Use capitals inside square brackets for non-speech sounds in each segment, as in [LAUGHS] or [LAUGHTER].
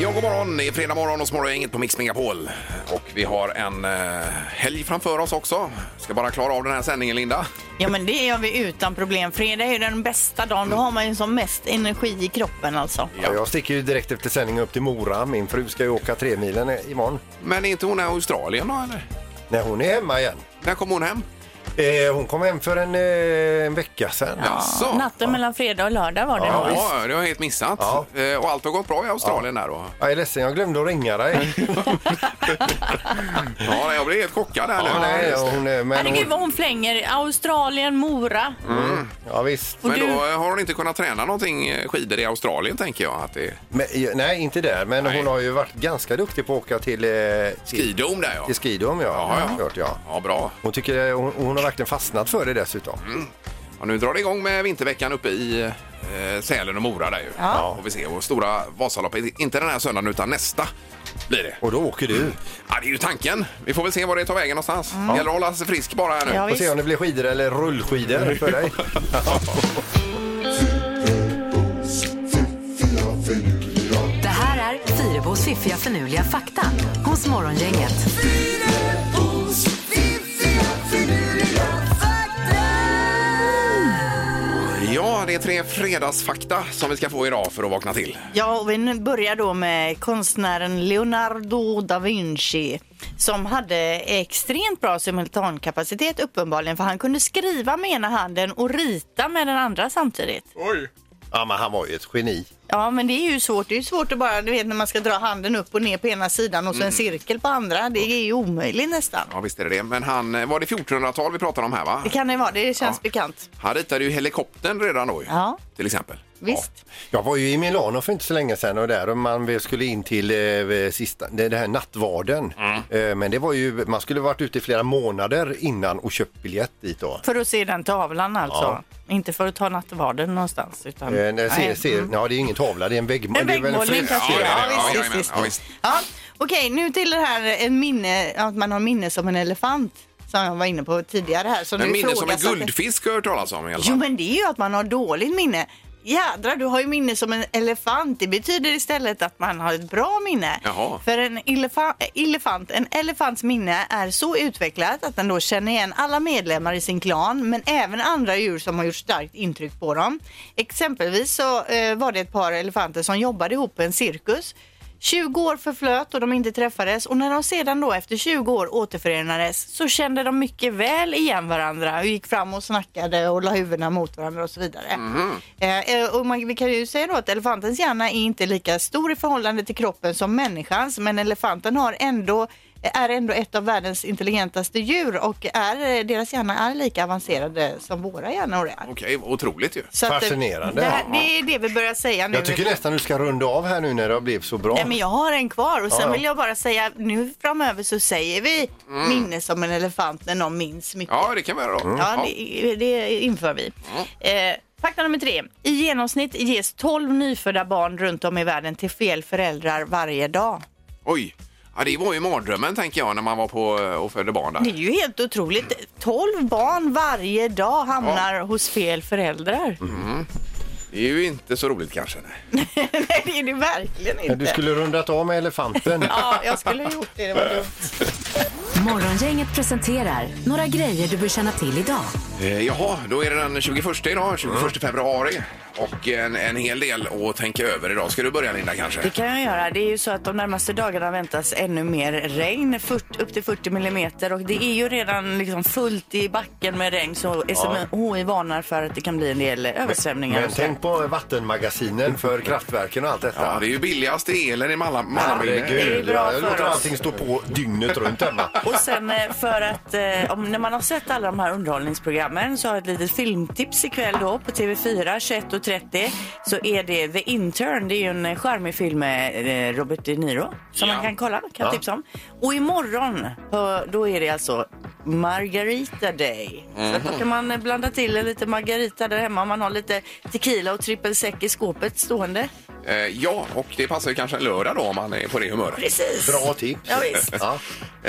Ja, god morgon. Det är fredag morgon och Smålandsgänget på Mix Megapol. Och vi har en eh, helg framför oss också. Ska bara klara av den här sändningen, Linda. Ja men det gör vi utan problem. Fredag är ju den bästa dagen. Då har man ju som mest energi i kroppen alltså. Ja, jag sticker ju direkt efter sändningen upp till Mora. Min fru ska ju åka tre milen i- imorgon. Men är inte hon i Australien då, eller? När hon är hemma igen. När kommer hon hem? Eh, hon kom hem för en, eh, en vecka sedan. Jaså? Natten mellan fredag och lördag var det nog. Ja, det har jag helt missat. Ja. Eh, Och allt har gått bra i Australien där då? Jag är ledsen, jag glömde att ringa [LAUGHS] dig. Ja, nej, jag blir helt chockad här Ja, nu. nej, hon, är- men Herregud vad hon, hon flänger. Australien, Mora. Mm. ja, visst. Och Men då du, eh, har hon inte kunnat träna någonting eh, skidor i Australien, tänker jag. Att det är Men, eh, nej, inte där. Men Nej. hon har ju varit ganska duktig på att åka till, eh, till, skidom där, ja. till skidom. Ja, Jaha, ja. Hört, ja. Ja, bra. Hon, tycker, eh, hon, hon har verkligen fastnat för det dessutom. Ja, nu drar det igång med vinterveckan uppe i eh, Sälen och Mora där ju. Ja. Och vi ser vårt stora Vasaloppet, inte den här söndagen utan nästa blir det. Och då åker du. Ja, det är ju tanken. Vi får väl se var det tar vägen någonstans. Det gäller att hålla sig frisk bara här nu. Mm. Ja, Och se om det blir skidor eller rullskidor för [LAUGHS] dig. Det här är Fyrabos fiffiga förnuliga fakta hos Morgongänget. Ja, det är tre fredagsfakta som vi ska få idag för att vakna till. ja, och vi nu börjar då med konstnären Leonardo da Vinci som hade extremt bra simultankapacitet uppenbarligen för han kunde skriva med ena handen och rita med den andra samtidigt. Ja, men han var ju ett geni. Ja, men det är ju svårt. Det är ju svårt att bara, du vet när man ska dra handen upp och ner på ena sidan och så en cirkel på andra. Det är ju omöjligt nästan. Mm. Ja, visst är det det. Men han, eh, var det 1400-tal vi pratade om här va? Det kan det vara, det känns bekant. Han ritade ju helikoptern redan då ju, Ja. till exempel. Visst? Jag var ju i Milano för inte så länge sedan och där man väl skulle in till eh, sista, det, det här nattvarden. Eh, men det var ju, man skulle varit ute i flera månader innan och köpt biljett dit då. För att se den tavlan alltså. Inte för att ta nattvarden någonstans. Utan... Eh, när ser, Nej. Mm. ser, ja, det är ingen tavla, det är en väggmålning. En väggmålning kanske. Ja, det är Ja, det. Ja, visst, visst, jajamän. visst. Ja, visst. Ja, Okej, nu till det här eh, en minne, att man har minne som en elefant. Som jag var inne på tidigare här. Så Men nu minne som en frågas att- guldfisk har jag hört talas om i alla Jo fall. men det är ju att man har dåligt minne. Jädrar, du har ju minne som en elefant. Det betyder istället att man har ett bra minne. Jaha. För en elefa- elefant, en elefants minne är så utvecklat att den då känner igen alla medlemmar i sin klan men även andra djur som har gjort starkt intryck på dem. Exempelvis så eh, var det ett par elefanter som jobbade ihop på en cirkus. 20 år förflöt och de inte träffades och när de sedan då efter 20 år återförenades så kände de mycket väl igen varandra och gick fram och snackade och la huvudena mot varandra och så vidare. Mhm. Eh, eh, och man, vi kan ju säga då att elefantens hjärna är inte lika stor i förhållande till kroppen som människans men elefanten har ändå är ändå ett av världens intelligentaste djur och är, eh, deras hjärna är lika avancerade som våra hjärnor är. Okej, otroligt ju. Så att, eh, Fascinerande. Det, här, det är det vi börjar säga nu. Jag tycker nästan du ska runda av här nu när det har blivit så bra. Nej, men jag har en kvar och sen Ja, Mm. ja. vill jag bara säga nu framöver så säger vi minne som en elefant när någon minns mycket. Ja, det kan vi göra då. Mm, Ja, det, det inför vi. Eh, fakta nummer tre. I genomsnitt ges 12 nyfödda barn runt om i världen till fel föräldrar varje dag. Oj! Ja, det var ju mardrömmen tänker jag när man var på eh, och födde barn Det där. är ju helt otroligt. 12 barn varje dag hamnar hos fel föräldrar. Det är ju inte så roligt kanske. nej. [LAUGHS] Nej, det är det verkligen inte. Du skulle rundat av med elefanten. [LAUGHS] Ja, jag skulle ha gjort det. Det var dumt. Morgongänget presenterar några grejer du bör känna till idag. Eh, jaha, då är det den 21 idag, 21 februari. Och en, en hel del att tänka över idag. Ska du börja Linda kanske? Det kan jag göra. Det är ju så att de närmaste dagarna väntas ännu mer regn, 40, upp till 40 millimeter. Och det är ju redan liksom fullt i backen med regn så SMHI varnar för att det kan bli en del översvämningar. Men och så. tänk på vattenmagasinen för kraftverken och allt detta. Ja, det är ju billigaste elen i Malla- Malmö. det är bra Ja, för jag låter oss. allting stå på dygnet runt hemma. Och sen eh, för att eh, om, när man har sett alla de här underhållningsprogram programmen så har jag ett litet filmtips ikväll då på TV4 21.30 så är det The Intern. Det är ju en eh, charmig film med eh, Robert De Niro som Ja. man kan kolla, kan jag tipsa om. Och imorgon eh, då är det alltså Margarita Day. Så Mhm. att då kan man eh, blanda till en lite margarita där hemma. Man har lite tequila och trippel sec i skåpet stående. Eh, ja, och det passar ju kanske en lördag då om man är på det humöret. Precis! Bra tips. Ja, visst. Ja.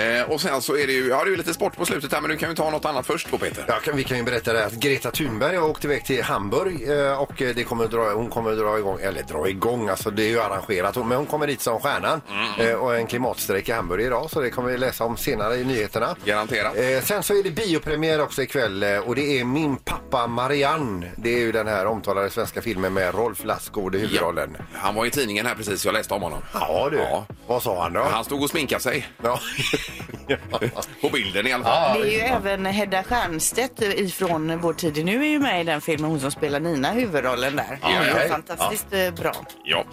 Eh, och sen så är det ju, ja det är ju lite sport på slutet här men du kan ju ta något annat först då Peter. Ja, kan, vi kan ju berätta det här att Greta Thunberg har åkt iväg till Hamburg eh, och eh, det kommer dra, hon kommer dra igång, eller dra igång, alltså det är ju arrangerat, men hon kommer dit som stjärnan Mm. eh, och en klimatstrejk i Hamburg idag så det kommer vi läsa om senare i nyheterna. Garanterat. Eh, sen så är det biopremiär också ikväll eh, och det är Min pappa Marianne. Det är ju den här omtalade svenska filmen med Rolf Lassgård i huvudrollen. Ja, Han var i tidningen här precis, jag läste om honom. du. Ja. Vad sa han då? Han stod och sminkade sig. Ja. På bilden i alla fall. Det är ju även Hedda Stiernstedt ifrån Vår tid nu är ju med i den filmen. Hon som spelar Nina huvudrollen där. Ja, Hon är ja. fantastiskt eh, bra. Ja.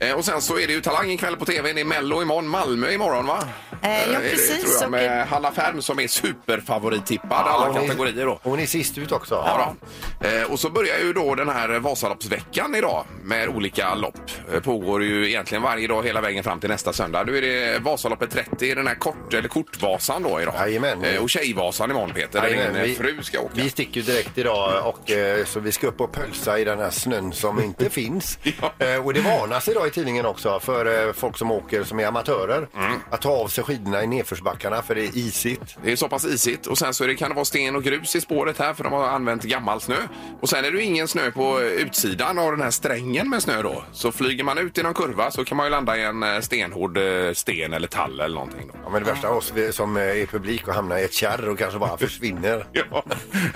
Eh, och sen så är det ju Talang ikväll på tv. Det är Mello imorgon, Malmö imorgon va? Eh, ja, är det, precis. Tror jag, Och- med Hanna Färm som är superfavorittippad alla Hon är- kategorier då. Hon är sist ut också. Ja, då. Eh, och så börjar ju då den här Vasaloppsveckan idag med olika lopp. Eh, pågår ju egentligen varje dag hela vägen fram till nästa söndag. Nu är det Vasaloppet 30, den här kort, eller kortvasan då idag. Jajamän. Eh, och Tjejvasan imorgon Peter, där Jajamän, din eh, fru ska åka. Vi sticker ju direkt idag och eh, så vi ska upp och pölsa i den här snön som inte finns. [LAUGHS] Ja. Eh, Och det varnas idag i tidningen också för eh, folk som åker som är amatörer Mm. att ta av sig skidorna i nedförsbackarna för det är isigt. Det är så pass isigt och sen så är det, kan det vara sten och grus i spåret här för de har använt gammal snö. Och sen är det ju ingen snö på eh, utsidan av den här strängen med snö då. Så flyger man ut i någon kurva så kan man ju landa i en eh, stenhård eh, sten eller tall eller någonting. Då. Ja, men det värsta av oss vi- som eh, är publik och hamnar i ett kärr och kanske bara försvinner. [LAUGHS] Ja. [LAUGHS]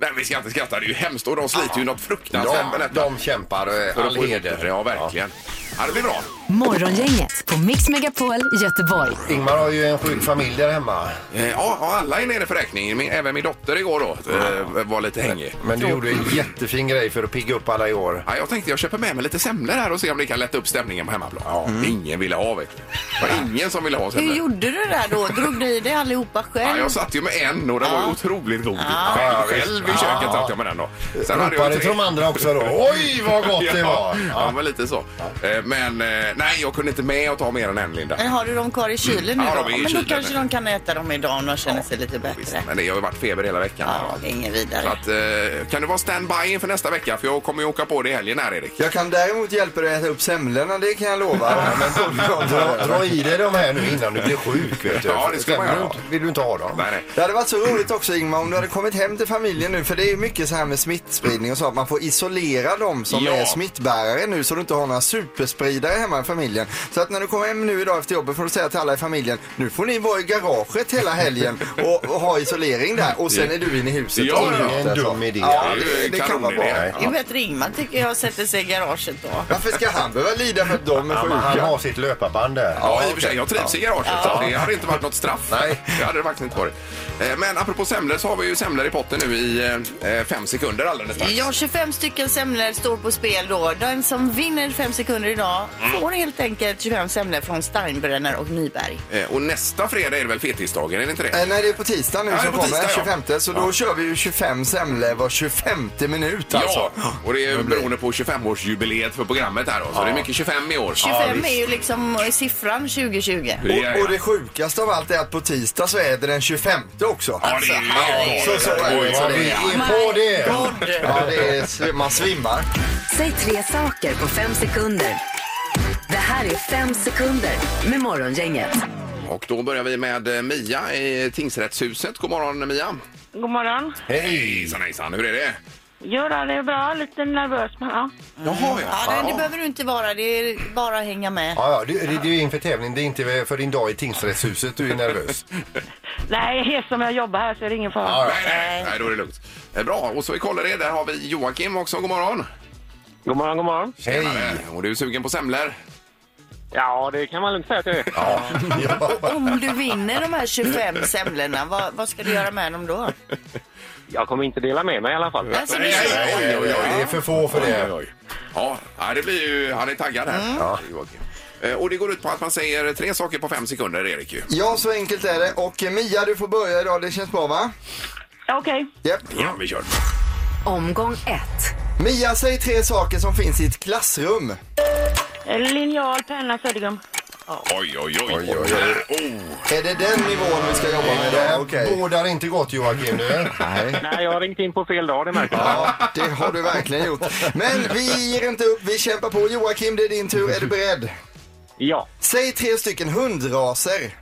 Nej, vi ska inte skratta. Det är ju hemskt och de sliter ju något fruktansvärt med De, detta. de kämpar, eh, För att all få ihop det. heder. Ja, verkligen. Ja, det blir bra. Morgongänget på Mix Megapol Göteborg. Ja. Ingmar har ju en sjuk familj där hemma. Eh, Ja, ja, alla är nere för räkning. Min- Även min dotter igår då eh, var lite hängig. Men du gjorde en jättefin grej för att pigga upp alla i år. Ja, jag tänkte jag köper med mig lite semlor här och ser om det kan lätta upp stämningen på hemmaplan. Mm. Ingen ville ha vet du. Det var ingen som ville ha Hur semlor. gjorde du det där då? Drog du i dig allihopa Ja, själv? jag satt ju med en och den var ju otroligt god. Själv, själv i köket satt jag med den då. Sen hade jag Ropade tre- till de andra [LAUGHS] också då. Oj, vad gott det Ja, var! ja, men lite så. Eh, Men eh, nej, jag kunde inte med att ta mer än en Linda. Men Eh, har du dem kvar i kylen nu Mm. Ja, då? de är Men i då kylen kanske nu. de kan äta dem idag om de känner sig lite Visst, bättre. men det har ju varit feber hela veckan. här, Ja, va? det är inget vidare. Så att, eh, kan du vara standby inför nästa vecka? För jag kommer ju åka på det i helgen här, Erik. Jag kan däremot hjälpa dig att äta upp semlorna, det kan jag lova. Men Dra, bullfront- dra i dig de här nu innan du blir sjuk. Vet du. Ja, det ska man Stämmer göra. du inte- Vill du inte ha dem? Nej, nej. Det hade varit så roligt också Ingmar om du hade kommit hem till familjen nu för det är ju mycket så här med smittspridning och så att man får isolera de som Ja. är smittbärare nu så du inte har några superspridare hemma i familjen. Så att när du kommer hem nu idag efter jobbet får du säga till alla i familjen nu får ni vara i garaget hela helgen och, och ha isolering där och sen är du inne i huset. Ja, och ja. ut Ingen där, så. dum idé. Ja, Det är ju det, det kan vara kanonidé. bra. Det är bättre Ingmar tycker jag sätter sig i garaget då. Varför ska han behöva lida för att de är Ja, men han sjuka? har sitt löparband där. Ja, i och för sig. Jag trivs i garaget. Så det hade inte varit något straff. Nej. Det hade det faktiskt inte varit. Eh, Men apropå semlor så har vi ju semlor i potten nu i eh, fem sekunder alldeles strax. Ja, 25 stycken semlor står på spel då. Den som vinner 5 sekunder idag Mm. får helt enkelt 25 semlor från Steinbrenner och Nyberg. Eh, Och nästa fredag är det väl fettisdagen, är det inte det? Eh, Nej, det är på tisdag nu Ja, det är som på kommer, tisdag, ja. 25. Så då kör vi ju 25 semlor var 25 minut alltså. Ja, och det är ju beroende på 25-årsjubileet för programmet här då. Så det är mycket 25 i år. 25 är ju liksom siffran 2020. Ja, Och, och det sjukaste av allt är att på tisdag så är det den 25 också. Ja, det är ju Så, så är Oj, det. Så vad det Vi är, är på det! ja, det är, man svimmar. Säg tre saker på fem sekunder. Det här är fem sekunder med Morgongänget. Och då börjar vi med eh, Mia i Tingsrättshuset. God morgon Mia! God morgon. Hejsan hejsan, hur är det? Jo då, det är bra. Lite nervös men ja. Jaha ja. Ja, nej, det behöver du inte vara. Det är bara att hänga med. Ja, ja, det, det, det är ju inför tävling. Det är inte för din dag i tingsrättshuset du är nervös. Nej, [LAUGHS] eftersom jag jobbar här så är det ingen fara. Nej, nej, nej, då är det lugnt. Eh, Bra, och så i Kållered där har vi Joakim också. God morgon! God morgon, god morgon. Hej! Eh, Och du är sugen på semlor? Ja, det kan man lugnt säga att jag är. Ja. Om du vinner de här 25 semlorna, vad, vad ska du göra med dem då? Jag kommer inte dela med mig i alla fall. Alltså, det Nej, är nej, Oj, oj, oj, det är för få för Oj, oj, det. oj. Ja, nej, det blir ju... Han är taggad här. Ja. Joakim. Eh, Och det går ut på att man säger tre saker på fem sekunder, Erik. Ju. Ja, så enkelt är det. Och eh, Mia, du får börja idag. Det känns bra va? Okej. Japp. Ja, vi kör. Omgång ett. Mia, säg tre saker som finns i ett klassrum. Eh, Linjal, penna, suddgum. Oj, oj, oj. Oj, oj, Är det den nivån vi ska jobba med idag? Okej. Bådar inte gott Joakim nu. Nej, Nej, jag har ringt in på fel dag, det märker jag. ja, det har du verkligen gjort. [LAUGHS] Men vi ger inte upp, vi kämpar på. Joakim, det är din tur. Är du beredd? Ja. Säg tre stycken hundraser.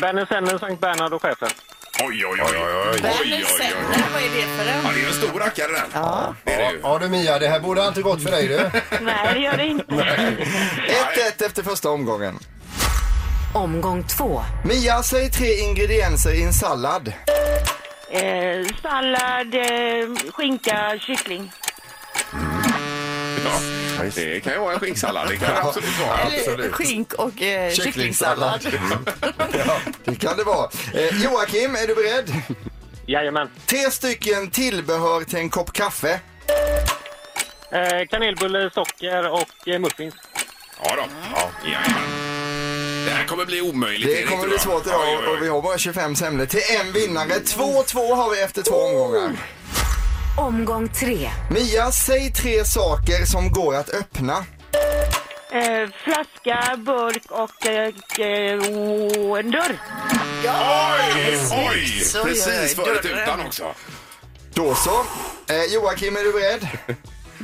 Bernesennen, Sankt Bernhard och chefen. Oj, oj, oj. oj, oj, oj, oj, oj. Vad är det för en? Ja, det är en stor rackare den. Ja. Det är det ju. Ja du Mia, det här borde inte gått för dig du. Nej, det gör det inte. 1-1 efter första omgången. Omgång två. Mia, säg tre ingredienser i en sallad. Eh, sallad, eh, skinka, kyckling. Ja. Det kan ju vara en skinksallad. Det kan det absolut vara. Eller skink och eh, kycklingsallad. [LAUGHS] Det kan det vara. Eh, Joakim, är du beredd? Jajamän. Tre stycken tillbehör till en kopp kaffe. Eh, kanelbulle, socker och eh, muffins. Ja då. Ja, jajamän. Det här kommer bli omöjligt. Det Erik, kommer tror bli jag. svårt Oj, oj, idag oj. och vi har bara 25 semlor till en vinnare. 2-2 har vi efter två omgångar. Omgång tre. Mia, säg tre saker som går att öppna. Eh, flaska, burk och eh, eh, och en dörr. Oj, oj! Så gör jag. Precis före Dörren. tutan också. Då så. Eh, Joakim, är du beredd?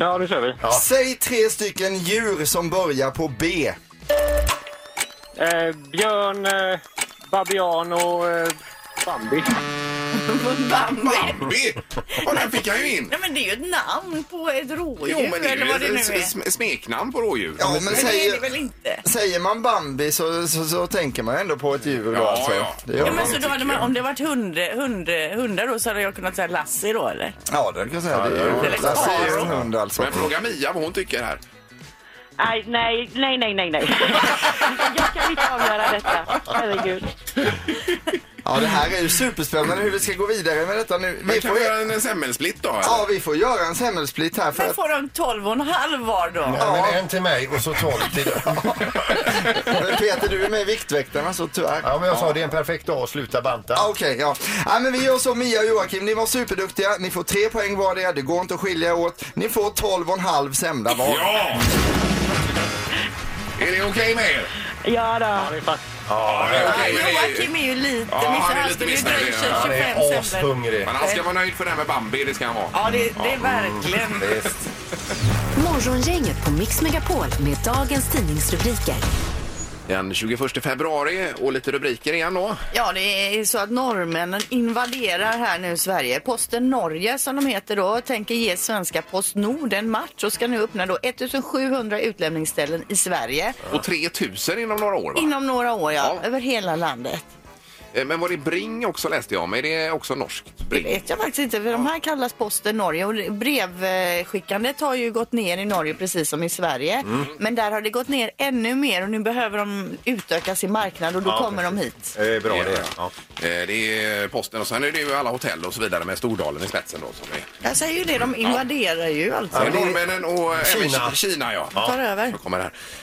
Ja, nu kör vi. Säg tre stycken djur som börjar på B. Eh, björn, eh, babian och eh, Bambi. Bambi! Och den fick jag ju in. Nej men det är ju ett namn på ett rådjur Jo, men det eller vad det nu är ju är. ett sm- smeknamn på rådjur. Ja, men Men det är det säger, väl inte? säger man Bambi så, så, så tänker man ändå på ett djur. då, Ja, alltså. ja. Det gör Ja, man. men så då hade man, om det varit hund, hund, hundar då så hade jag kunnat säga Lassie då eller? ja det kan jag säga. Det det är är ju lätt. Lasse är ju en hund alltså. Men fråga Mia vad hon tycker här. Nej, nej, nej, nej, nej, [LAUGHS] nej. Jag kan inte avgöra detta. Herregud. Ja, det här är ju superspännande hur vi ska gå vidare med detta nu. Men Vi kan får, vi göra en semmelsplitt då? eller? ja, vi får göra en semmelsplitt här för Men att får de 12 och en halv var då? Ja, men en till mig och så tolv till dig. Men Peter, du är med i Viktväktarna så tyvärr. Ja men jag sa det är en perfekt dag att sluta banta. Ah, Okej, ja. ja. men vi gör så Mia och Joakim, ni var superduktiga. Ni får tre poäng vardera, det går inte att skilja er åt. Ni får tolv och en halv semla var. Ja! Är det okej med er? Ja då. Det är fan- Ja, det är Ja, okej med er. Joakim är ju lite Ja, missnöjd. han är Han lite skulle ju dra missnöjd, i sig ja. Han 25 är semlor. ashungrig. Men han ska vara nöjd för det här med Bambi, det ska han vara. Ja, det, det är verkligen. Visst. Morgongänget på Mix Megapol med dagens tidningsrubriker. Den 21 februari och lite rubriker igen då. Ja, det är så att norrmännen invaderar här nu Sverige. Posten Norge, som de heter då, tänker ge svenska Postnord en match och ska nu öppna då 1700 utlämningsställen i Sverige Och 3000 inom några år va? inom några år, ja, Ja. över hela landet. Eh, Men var det Bring också läste jag om? Är det också norskt? Det Bring? vet jag faktiskt inte, för de här kallas Posten Norge och brevskickandet har ju gått ner i Norge precis som i Sverige. Mm. Men där har det gått ner ännu mer och nu behöver de utöka sin marknad och då kommer de hit. Det är bra det. Ja. Eh, Det är posten och sen är det ju alla hotell och så vidare med Stordalen i spetsen då. Som är. Jag säger ju det, de invaderar ju alltså. Men norrmännen och eh, även Kina. Ki- Kina ja. Tar över. Som Kommer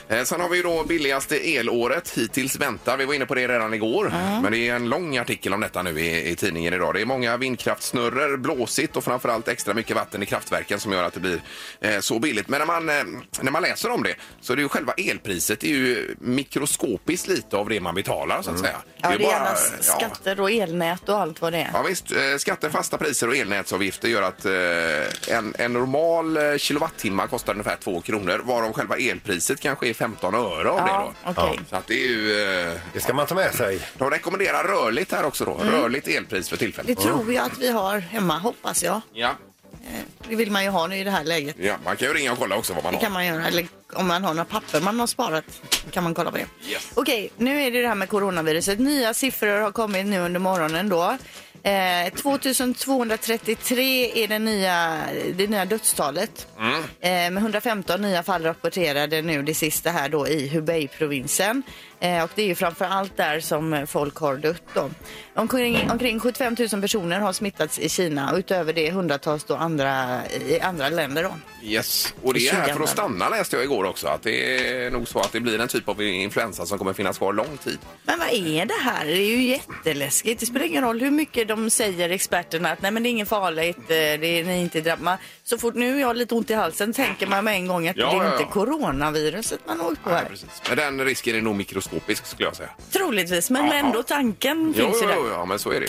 här. Eh, Sen har vi ju då billigaste elåret hittills väntar. Vi var inne på det redan igår. Men det är en lång artikel om detta nu i, i tidningen idag. Det är många vindkraftsnurror, blåsigt och framförallt extra mycket vatten i kraftverken som gör att det blir eh, så billigt. Men när man, eh, när man läser om det så är det ju själva elpriset det är ju mikroskopiskt lite av det man betalar så att säga. Ja, det är bara- gärna ja. skatter och elnät och allt vad det är. Ja, visst, Eh, skatter, fasta priser och elnätsavgifter gör att eh, en, en normal eh, kilowattimme kostar ungefär 2 kronor varav själva elpriset kanske är 15 öre av Ja, det. Då. okej. Så att det är ju, eh, Det ska man ta med sig. de rekommenderar rörligt här också. Mm. Då. Rörligt elpris för Det tillfället. tror jag att vi har hemma, hoppas jag. Ja. Det vill man ju ha nu i det här läget. ja, man kan ju ringa och kolla också vad man Det har. kan man göra, eller om man har några papper man har sparat kan man kolla på det. Yes. Okej, nu är det det här med coronaviruset. Nya siffror har kommit nu under morgonen då. Eh, 2233 är det nya, det nya dödstalet. Mm. Eh, med 115 nya fall rapporterade nu det sista här då i Hubei-provinsen. Eh, Eh, och det är ju framför allt där som folk har dött. Då. Omkring, omkring 75 000 personer har smittats i Kina och utöver det hundratals då andra, i andra länder. Då. Yes, och det är här för att stanna läste jag igår också. Att det är nog så att det blir en typ av influensa som kommer finnas kvar lång tid. Men vad är det här? Det är ju jätteläskigt. Det spelar ingen roll hur mycket de säger, experterna, att nej men det är inget farligt, eh, det är, ni är inte drabbade. Man- Så fort nu jag har lite ont i halsen tänker man med en gång att Ja, det är ja, ja. inte coronaviruset man har åkt på här. Men den risken är nog mikroskopisk skulle jag säga. Troligtvis, men ändå tanken Jo, finns ju jo, där. Mm. jo, ja, men så är det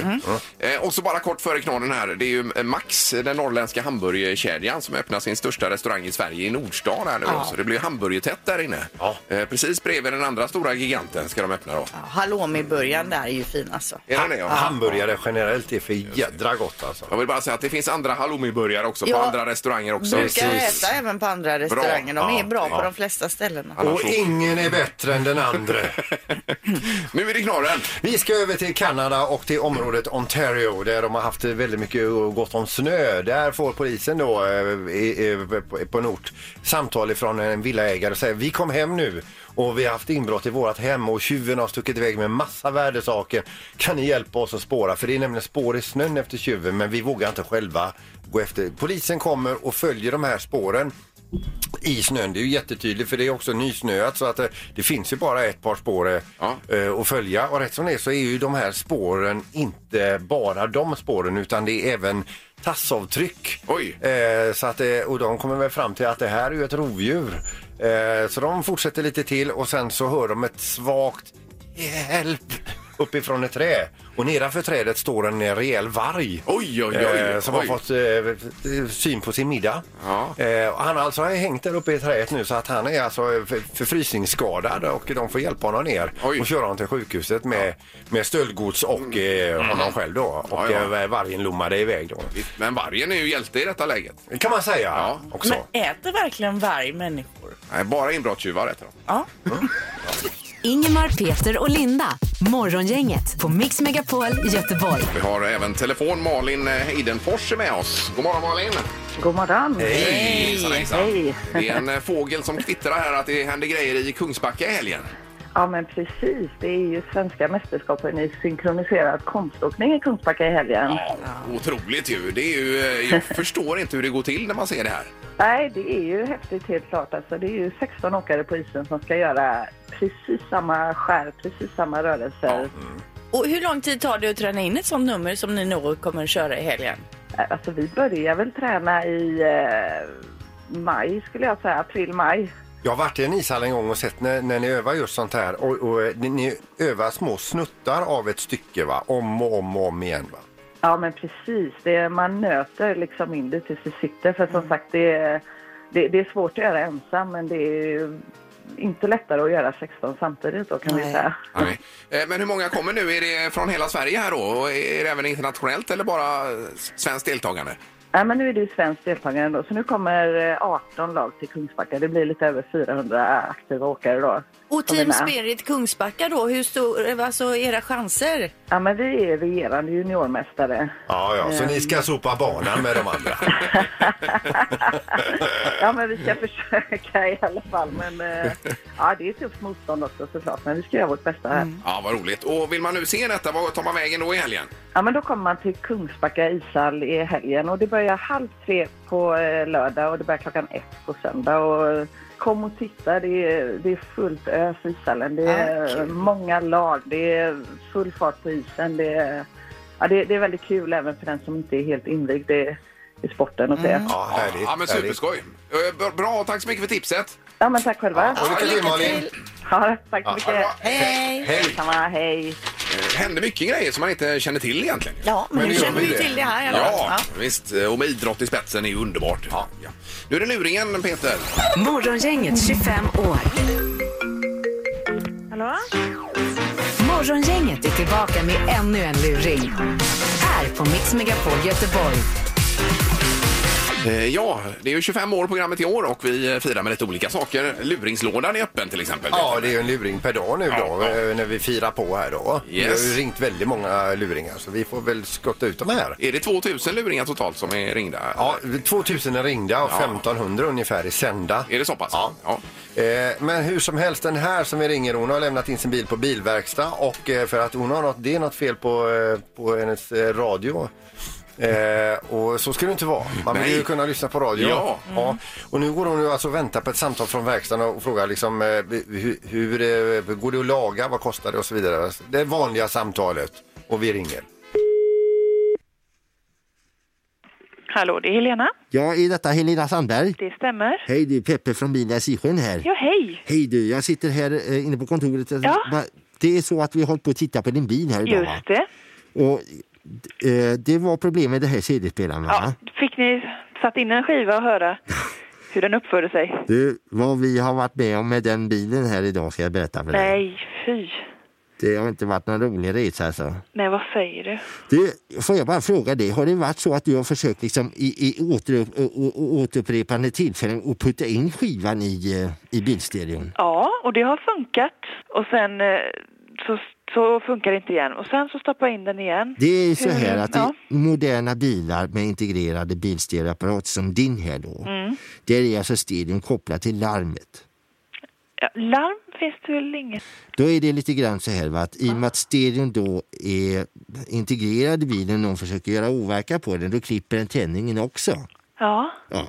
ju. Eh, och så bara kort före knorren här. Det är ju eh, Max, den norrländska hamburgerkedjan som öppnar sin största restaurang i Sverige i Nordstan här nu. då. Så det blir hamburgertätt där inne. Eh, precis bredvid den andra stora giganten ska de öppna då. Halloumiburgaren där är ju fin alltså. Är den det? Ja. Hamburgare generellt är för jädra gott alltså. Jag vill bara säga att det finns andra halloumiburgare också på Ja. andra restauranger också. Brukar äta även på andra restauranger. De Ja, är bra ja. på de flesta ställena. Annars Och så- ingen är bättre än den andra. nu är det knorren. Vi ska över till Kanada och till området Ontario där de har haft väldigt mycket gott om snö. Där får polisen då eh, i- i- på- på en ort samtal ifrån en villaägare och säger vi kom hem nu och vi har haft inbrott i vårt hem och tjuven har stuckit iväg med massa värdesaker. Kan ni hjälpa oss att spåra? För det är nämligen spår i snön efter tjuven men vi vågar inte själva gå efter. Polisen kommer och följer de här spåren i snön. Det är ju jättetydligt för det är också nysnöat så att det, det finns ju bara ett par spår eh, eh, att följa. Och rätt som det är så är ju de här spåren inte bara de spåren utan det är även tassavtryck. Eh, så att, det- och de kommer väl fram till att det här är ju ett rovdjur. Eh, så de fortsätter lite till och sen så hör de ett svagt hjälp uppifrån ett träd. Och nedanför trädet står en rejäl varg. Oj, oj, oj, eh, som oj. har fått eh, syn på sin middag. Eh, och han alltså har hängt där uppe i trädet nu så att han är alltså eh, för- förfrysningsskadad och de får hjälpa honom ner och köra honom till sjukhuset med, med stöldgods och eh, honom själv då. Och Mhm. Ja, ja. eh, vargen lommade iväg då. Men vargen är ju hjälte i detta läget. Det kan man säga också. Men äter verkligen varg människor? Nej, bara inbrottstjuvar äter de. Ingemar, Peter och Linda. Morgongänget på Mix Megapol Göteborg. Vi har även telefon Malin eh, Heidenfors är med oss. God morgon Malin! God morgon. Hejsan, hejsan. Det är en eh, fågel som kvittrar här att det händer grejer i Kungsbacka i helgen. Ja, men precis. Det är ju svenska mästerskapen i synkroniserad konståkning i Kungsbacka i helgen. Otroligt ju. Det är ju eh, [LAUGHS] jag förstår inte hur det går till när man ser det här. Nej, det är ju häftigt helt klart. Alltså, det är ju 16 åkare på isen som ska göra precis samma skär, precis samma rörelser. Och hur lång tid tar det att träna in ett sånt nummer som ni nog kommer köra i helgen? Alltså, vi börjar väl träna i eh, maj, skulle jag säga. April, maj. Jag har varit i en ishall en gång och sett när, när ni övar just sånt här och, och eh, ni, ni övar små snuttar av ett stycke va? Om och om och om igen va? Ja, men precis. Det är, man nöter liksom in det tills det sitter. För Mm. som sagt, det är, det, det är svårt att göra ensam, men det är ju inte lättare att göra 16 samtidigt då, kan vi säga. Nej. Eh, Men hur många kommer nu? Är det från hela Sverige här då? Och är det även internationellt eller bara eh, svenskt deltagande? Nej, men nu är det ju svenskt deltagande då, så nu kommer eh, 18 lag till Kungsbacka. Det blir lite över 400 aktiva åkare då. Och som är Team med. Spirit Kungsbacka då, hur stor, alltså era chanser? Ja, men vi är regerande juniormästare. Ja, ja, så ni ska sopa banan med de andra. Ja, men vi ska [LAUGHS] försöka i alla fall. Men eh, ja, det är tufft motstånd också såklart, men vi ska göra vårt bästa här. Ja, vad roligt. Och vill man nu se detta, vad tar man vägen då i helgen? Ja, men då kommer man till Kungsbacka ishall i helgen och det börjar halv tre på eh, lördag och det börjar klockan ett på söndag. Och eh, kom och titta, det är, det är fullt ös i ishallen. Det är eh, många lag, det är full fart på isen. Det är, ja, det, det är väldigt kul även för den som inte är helt invigd i, i sporten och så. Ja, härligt. Ja, men härligt. superskoj. Eh, b- Bra, tack så mycket för tipset. Ja, men tack själva. Och lycka till Malin. Ja, tack så Ja, mycket. Hej! Hej. Detsamma, hej. Eh, hände mycket grejer som man inte känner till egentligen. Ja, men, Men nu nu känner gör vi vi det. till det här i alla fall. Ja, visst. Eh, Och med idrott i spetsen är ju underbart. Ja. Nu är det luringen, Peter. Morgongänget 25 år. Hallå? Morgongänget är tillbaka med ännu en luring. Här på Mix Megapol Göteborg. Eh, Ja, det är ju 25 år programmet i år och vi eh, firar med lite olika saker. Luringslådan är öppen till exempel. Ja, det är ju en luring per dag nu då, eh, när vi firar på här då. Vi har Yes. ju ringt väldigt många luringar så vi får väl skotta ut dem här. Eh, Är det 2000 luringar totalt som är ringda? Ja, 2000 är ringda och 1500 ungefär är sända. Är det så pass? Ja. Eh, Men hur som helst, den här som vi ringer, hon har lämnat in sin bil på bilverkstad och eh, för att hon har något, det är något fel på, eh, på hennes eh, radio. Eh, och så ska det inte vara. Man vill Nej. ju kunna lyssna på radio. Ja. ja. Och nu går hon ju alltså och väntar på ett samtal från verkstaden och frågar liksom eh, hur, hur eh, går det att laga, vad kostar det och så vidare. Alltså, Det vanliga samtalet och vi ringer. Hallå, det är Helena. Ja, är detta Helena Sandberg? Det stämmer. Hej, det är Peppe från Bilnäs i Sjön här. Ja, hej. Hej du, jag sitter här eh, inne på kontoret. Va- Det är så att vi har hållit på att titta på din bil här idag. va? Just det. Och, eh, det var problem med det här CD-spelaren va? Ja, fick ni satt in en skiva och höra hur den uppförde sig? Du, vad vi har varit med om med den bilen här idag ska jag berätta för dig. Nej, fy. Det har inte varit någon rolig resa alltså. Nej, vad säger du? Du, får jag bara fråga dig, har det varit så att du har försökt liksom i, i åter, å, å, återupprepande tillfällen att putta in skivan i, eh, i bilstereon? Ja, och det har funkat. Och sen eh, så, så funkar det inte igen. Och sen så stoppar jag in den igen. Det är ju så Hur- här att ja. i moderna bilar med integrerade bilstereoapparater som din här då, Mm. där är alltså stereon kopplad till larmet. Ja, larm finns det väl inget? Då är det lite grann så här va, att i och med att stereon då är integrerad i bilen och någon försöker göra overkan på den, då klipper den tändningen också. Ja. Ja.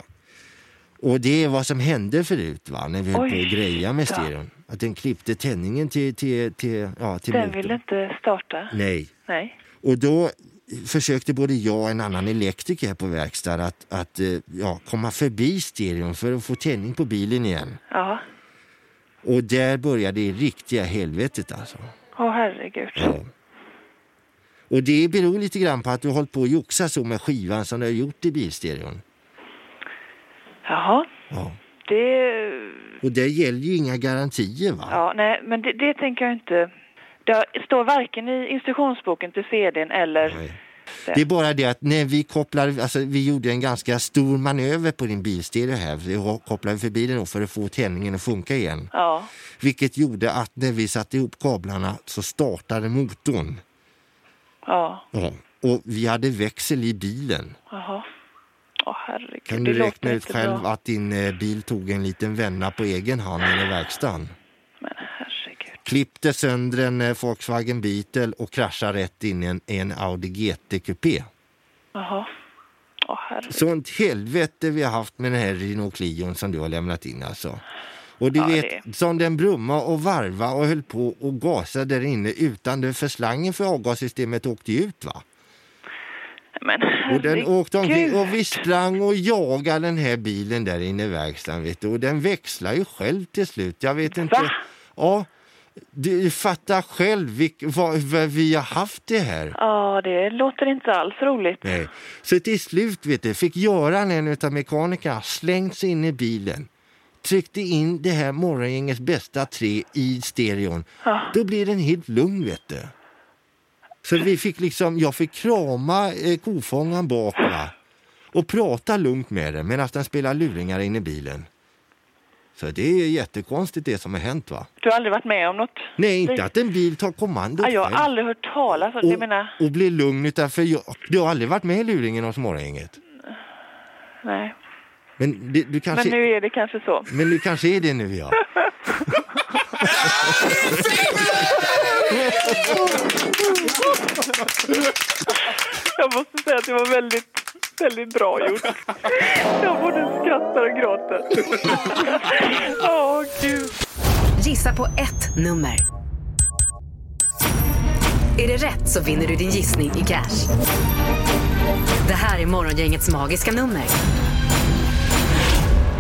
Och det är vad som hände förut va, när vi höll på Oj, att greja med ja. stereon. Att den klippte tändningen till, till, till, ja, till Den vill motorn. inte starta? Nej. Nej. Och då försökte både jag och en annan elektriker här på verkstad att, att eh, ja, komma förbi stereon för att få tändning på bilen igen. Ja. Och där började det riktiga helvetet alltså. Åh, herregud. Och det beror lite grann på att du har hållit på att joxa så med skivan som du har gjort i bilstereon. Jaha. Ja. Det... Och där gäller ju inga garantier va? Ja, nej, men det, det tänker jag inte. Det står varken i instruktionsboken till CDn eller... Det är bara det att när vi kopplar, alltså vi gjorde en ganska stor manöver på din bilstereo här. Vi kopplade förbi den då för att få tändningen att funka igen. Ja. Vilket gjorde att när vi satte ihop kablarna så startade motorn. Ja. Ja. Och vi hade växel i bilen. Jaha. Åh, herregud. Kan det du låter räkna ut inte själv bra. att din eh, bil tog en liten vända på egen hand i verkstaden? Klippte sönder en eh, Volkswagen Beetle och kraschade rätt in i en, i en Audi GT-kupé. Jaha. Åh, herregud. Sånt helvete vi har haft med den här Renault Clion som du har lämnat in alltså. Och du Ja, vet, det som den brumma och varva och höll på och gasade där inne utan det för slangen för avgassystemet åkte ju ut va? Men Och den åkte omkring herregud. och vi sprang och jagade den här bilen där inne i verkstaden vet du. Och den växlar ju själv till slut. Jag vet inte. Ja, du fattar själv vilk, vad, vad vi har haft det här. Ja, det låter inte alls roligt. Nej. Så till slut vet du, fick Göran, en av mekanikerna, slängt sig in i bilen tryckte in det här morgongängets bästa tre i stereon. Då blir den helt lugn, vet du. Så vi fick liksom, jag fick krama eh, kofångaren bak va? och prata lugnt med den medan den spelar luringar in i bilen. Så det är jättekonstigt det som har hänt va? Du har aldrig varit med om något? Nej, inte Det- att en bil tar kommando Ja, jag själv har aldrig hört talas om det. Jag menar, och blir lugn utan för jag, du har aldrig varit med i luringen hos morgongänget. nej. Men det, du kanske... Men nu är det kanske så. Men nu kanske är det nu, ja. Jag måste säga att det var väldigt, väldigt bra gjort. Jag både skrattar och [LAUGHS] gråter. Åh, gud. Gissa på ett nummer. Är det rätt så vinner du din gissning i cash. Det här är Morgongängets magiska nummer.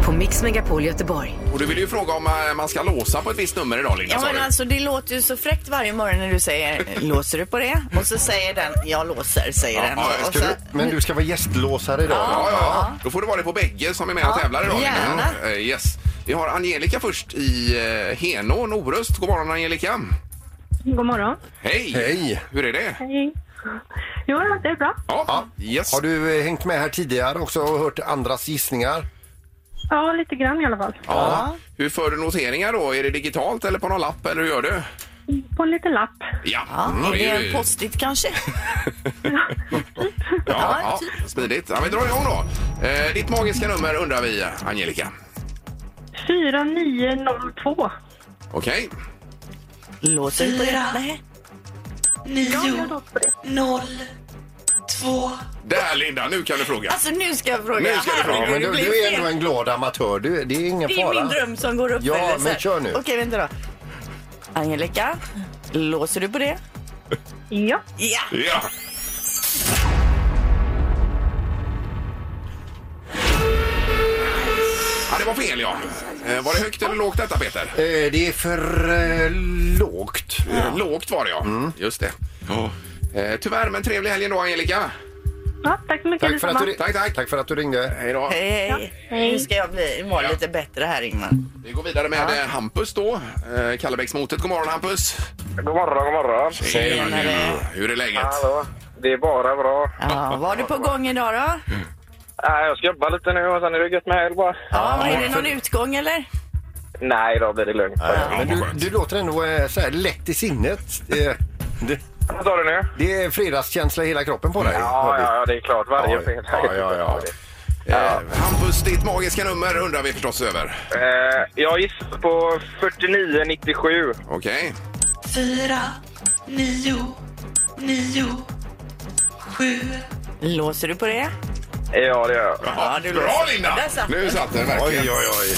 På Mix Megapol Göteborg. Och du vill ju fråga om eh, man ska låsa på ett visst nummer idag, Linda. Ja, sa men du. alltså det låter ju så fräckt varje morgon när du säger låser du på det? Och så säger den jag låser, säger den. Och Ska så, du, men du ska vara gästlåsare idag. Ja, ja, ja. Då får det vara det på bägge som är med och Ja, tävlar idag. gärna. Ja, eh, Yes. Vi har Angelica först i eh, Henå, Noröst. [LAUGHS] God morgon Angelica. God morgon. Hej! Hej! Hur är det? Hej. Jo, det är bra. Ja, yes. Har du eh, hängt med här tidigare också och hört andras gissningar? Ja, lite grann i alla fall. Ja. Hur för du noteringar då? Är det digitalt eller på någon lapp eller hur gör du? På en liten lapp. Ja, Mm, Är det det är ju- en post-it kanske? Ja, ja, smidigt. Ja, vi drar igång då. Eh, ditt magiska nummer undrar vi, Angelica. 4902. Okej. Låter Fyra. Nio. Noll. Två. Där Linda, nu kan du fråga. Alltså nu ska jag fråga. Nu ska du fråga. Herregud, Men det du, blir du är fel. ändå en glad amatör. Du, det är ingen Det är fara. min dröm som går upp. Ja, eller så här. men kör nu. Okej, vänta då. Angelica, låser du på det? Ja. Ja. Ja. Ja, det var fel ja. Eh, var det högt eller lågt detta Peter? Eh, Det är för eh, lågt. Eh, Lågt var det ja. Just det. Eh, tyvärr, men trevlig helg ändå Angelica. Ja, tack så mycket. Tack för, att du, tack, tack. tack för att du ringde. Hej då. Hej, hej. Nu ska jag bli, må lite bättre här, Ingmar. Vi går vidare med eh, Hampus då. Eh, Kallebäcksmotet. God morgon Hampus. God morgon, god morgon. Tjenare. Hur är läget? Hallå. Det är bara bra. Ja, vad har du på gång idag då? Nej, jag ska jobba lite nu och sen är det gött med helg bara. Ja, men är det någon utgång eller? Nej, då blir det lugnt. Men du, du låter ändå eh, så här lätt i sinnet. Eh, det- Vad sa du nu? Det är fredagskänsla i hela kroppen på dig. Ja, ja, ja, det är klart. Varje Ja, fredag. ja, ja, ja. Eh, Hampus, ditt magiska nummer undrar vi förstås över. Eh, jag gissar på 4997. Okej. Fyra, nio, nio, sju. Låser du på det? Ja, det gör jag. Ja, det Bra låter- Linda! Där satt Nu den. satt den verkligen. Oj, oj, oj.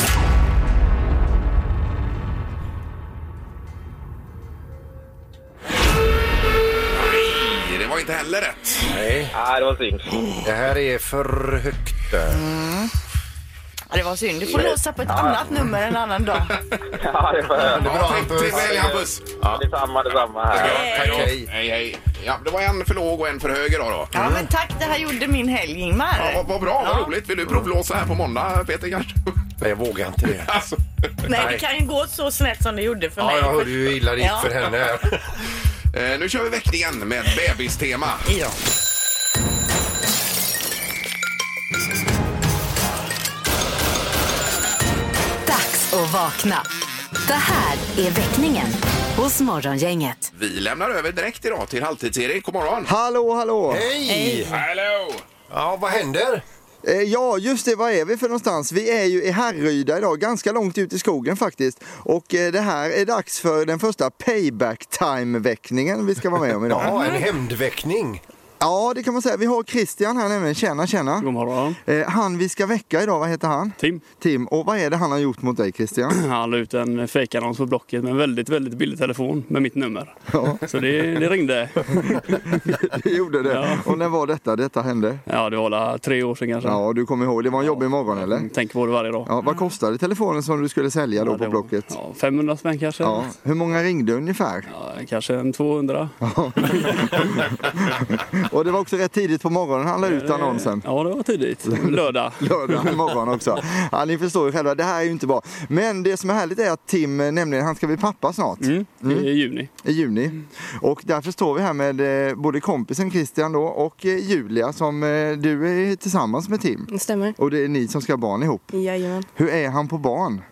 Nej, Det var inte heller rätt. Nej. Nej, det var synd. [LAUGHS] Det här är för högt. Ja, det var synd. Du får låsa på ett annat nummer en annan [LAUGHS] dag. Ja, det får jag. Det är bra, Hampus. Trevlig helg Hampus! Ja, detsamma, detsamma. Här. Tack, hej. Hej, hej. Ja, det var en för låg och en för hög idag då. Ja, men tack. Det här gjorde min helg, Ingmar. Ja, vad, vad bra, vad roligt. Vill du provblåsa här på måndag, Peter? Kanske? [LAUGHS] Nej, jag vågar inte det. Alltså. Nej, det kan ju gå så snett som det gjorde för Ja, mig. jag hörde ju hur illa det gick Ja. för henne. Eh, nu kör vi väckningen med bebistema. Ja. Dags att vakna. Det här är väckningen hos Morgongänget. Vi lämnar över direkt idag till Halvtids-Erik. God morgon! Hallå, hallå! Hej! Hallå! Ja, vad händer? Eh, Ja, just det. Var är vi för någonstans? Vi är ju i Härryda idag, ganska långt ut i skogen faktiskt. Och eh, det här är dags för den första payback time-väckningen vi ska vara med om idag. Ja, en hämndväckning. Ja, det kan man säga. Vi har Christian här nämligen. Tjena, tjena. God morgon. Eh, han vi ska väcka idag, vad heter han? Tim. Tim. Och vad är det han har gjort mot dig, Christian? Han la ut en fejkannons på Blocket med en väldigt, väldigt billig telefon med mitt nummer. Så det, det ringde. [LAUGHS] det gjorde det. Och när var detta detta hände? Ja, det var alla tre år sedan kanske. Ja, Mm. du kommer ihåg. Det var en jobbig morgon, eller? Tänk Mm, på det varje dag. Ja, vad kostade telefonen som du skulle sälja då Ja, det på var- Blocket? Ja, 500 spänn kanske. Ja. Hur många ringde ungefär? Ja, kanske en [LAUGHS] 200. Och det var också rätt tidigt på morgonen han la ut annonsen. Eh, Ja, det var tidigt. Lördag. [LAUGHS] Lördag morgon också. Ja, ni förstår ju själva, det här är ju inte bra. Men det som är härligt är att Tim, eh, nämligen, han ska bli pappa snart. I juni. I juni. Och därför står vi här med eh, både kompisen Christian då och eh, Julia som eh, du är tillsammans med Tim. Det stämmer. Och det är ni som ska ha barn ihop. Jajamän. Hur är han på barn?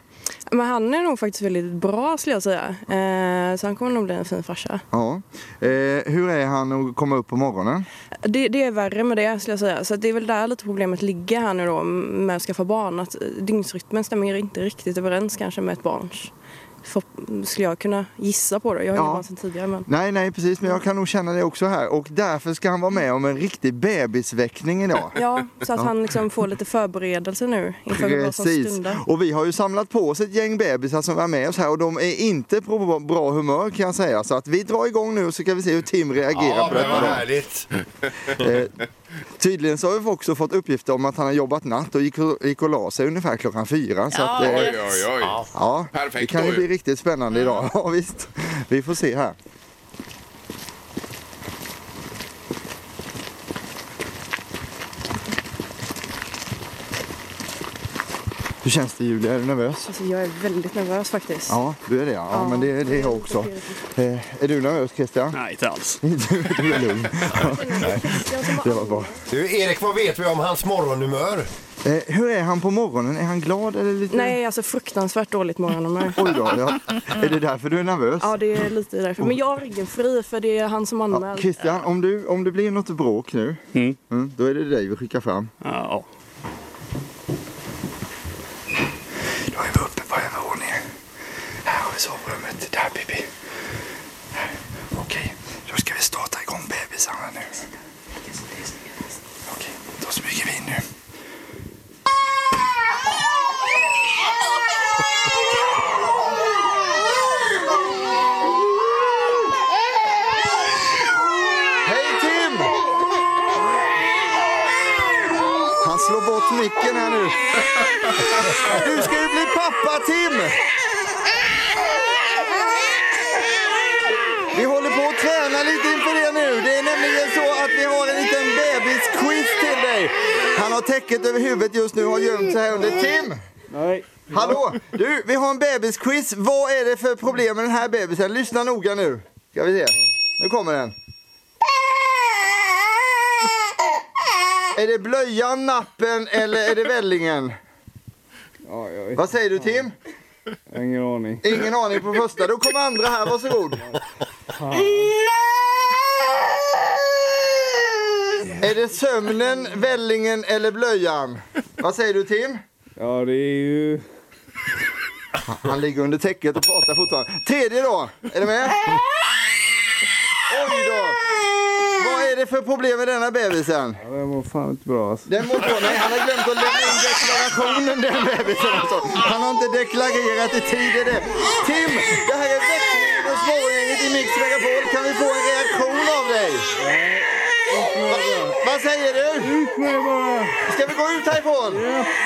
Men han är nog faktiskt väldigt bra skulle jag säga. Eh, så han kommer nog bli en fin farsa. Ja. Eh, hur är han att komma upp på morgonen? Det, det är värre med det skulle jag säga. Så att det är väl där lite problemet ligger här nu då med att skaffa barn. Att dygnsrytmen stämmer inte riktigt överens kanske med ett barns. För, skulle jag kunna gissa på det. Jag har Ja. ju barn sedan tidigare men. Nej, nej, precis, men jag kan nog känna det också här. Och därför ska han vara med om en riktig bebisväckning idag. Ja, så att Ja. han liksom får lite förberedelse nu inför vad som Precis. stundar. Och vi har ju samlat på oss ett gäng bebisar som är med oss här och de är inte på bra humör kan jag säga. Så att vi drar igång nu så kan vi se hur Tim reagerar Ja, på men detta. vad då. härligt. Eh, tydligen så har vi också fått uppgifter om att han har jobbat natt och gick och, gick och la sig ungefär klockan fyra. Så att, eh, Oj, oj, oj. Ja, det Perfekt kan då ju ju. bli Mm. riktigt spännande idag. [LAUGHS] Ja, visst. Vi får se här. Hur känns det Julia? Är du nervös? Alltså, jag är väldigt nervös faktiskt. Ja, du är det ja. ja Ja, men det, det är jag också. Eh, är du nervös Christian? Nej, inte alls. du är lugn. Ja, nej, det var bra. Du, Erik, vad vet vi om hans morgonhumör? Eh, hur är han på morgonen? Är han glad eller lite? Nej, alltså fruktansvärt dåligt morgonnummer. Oj då, ja. Är det därför du är nervös? Ja, det är lite därför. Men jag har ryggen fri för det är han som anmält. Christian, om, du, om det blir något bråk nu, mm, då är det dig vi skickar fram. Ja. Då är vi uppe på en våning. Här har vi sovrummet. Där Bibi. Här. Okej, då ska vi starta igång bebisarna nu. Okej, då smyger vi in nu. Hej Tim! Han slår bort micken här nu. Du ska ju bli pappa Tim! Vi håller på att träna lite inför det nu. Det är nämligen så att vi har en liten bebisquiz till dig. Han har täcket över huvudet just nu och har gömt sig här under. Tim! Nej. Hallå! Du, vi har en bebisquiz. Vad är det för problem med den här bebisen? Lyssna noga nu. Ska vi se. Nu kommer den. Är det blöjan, nappen eller är det vällingen? Vad säger du Tim? Ingen aning. Ingen aning på första. Då kommer andra här, varsågod. Är det sömnen, vällingen eller blöjan? Vad säger du Tim? Ja, det är ju... Han ligger under täcket och pratar fortfarande. Tredje då, är du med? Oj då! Vad är det för problem med denna bebisen? Ja, den var fan inte bra alltså. Den mår bra. Nej, han har glömt att lämna in deklarationen den bebisen alltså. Han har inte deklarerat i tid det är det. Tim, det här är väckningen hos morgongänget i Mix Megapol. Kan vi få en reaktion av dig? Va, vad säger du? Ut med bara! Ska vi gå ut härifrån?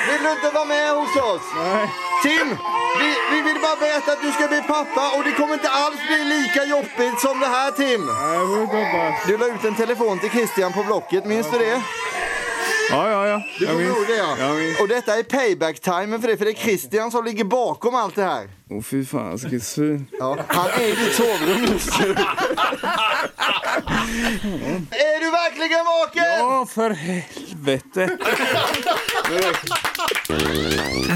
Vill du inte vara med hos oss? Nej. Tim, vi, vi vill bara berätta att du ska bli pappa och det kommer inte alls bli lika jobbigt som det här Tim. Du la ut en telefon till Christian på Blocket, minns du det? Ja, ja, ja. Du Jag kommer minns. ihåg det ja. Jag minns. Och detta är payback-timen för det, för det är Christian som ligger bakom allt det här. Åh fy fan, alltså, vilket svin. Ja, han är i ditt sovrum [LAUGHS] just nu. Är du verkligen vaken? Ja, för helvete.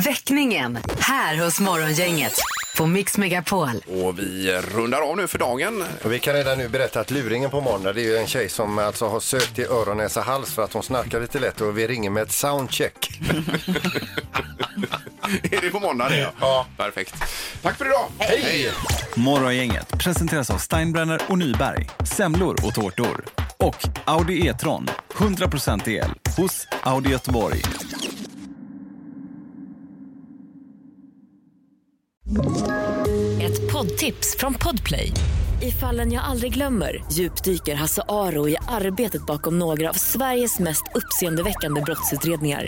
Väckningen här hos Morgongänget på Mix Megapol. Och vi rundar av nu för dagen. [LAUGHS] Och vi kan redan nu berätta att luringen på måndag, det är ju en tjej som alltså har sökt i öron, näsa, hals för att hon snarkar lite lätt och vi ringer med ett soundcheck. är det på måndag det? Ja. Perfekt. Tack för idag. Hej! Morgongänget presenteras av Steinbrenner och Nyberg, semlor och tårtor. Och Audi E-tron, 100% el, hos Audi Göteborg. Ett poddtips från Podplay. I fallen jag aldrig glömmer djupdyker Hasse Aro i arbetet bakom några av Sveriges mest uppseendeväckande brottsutredningar.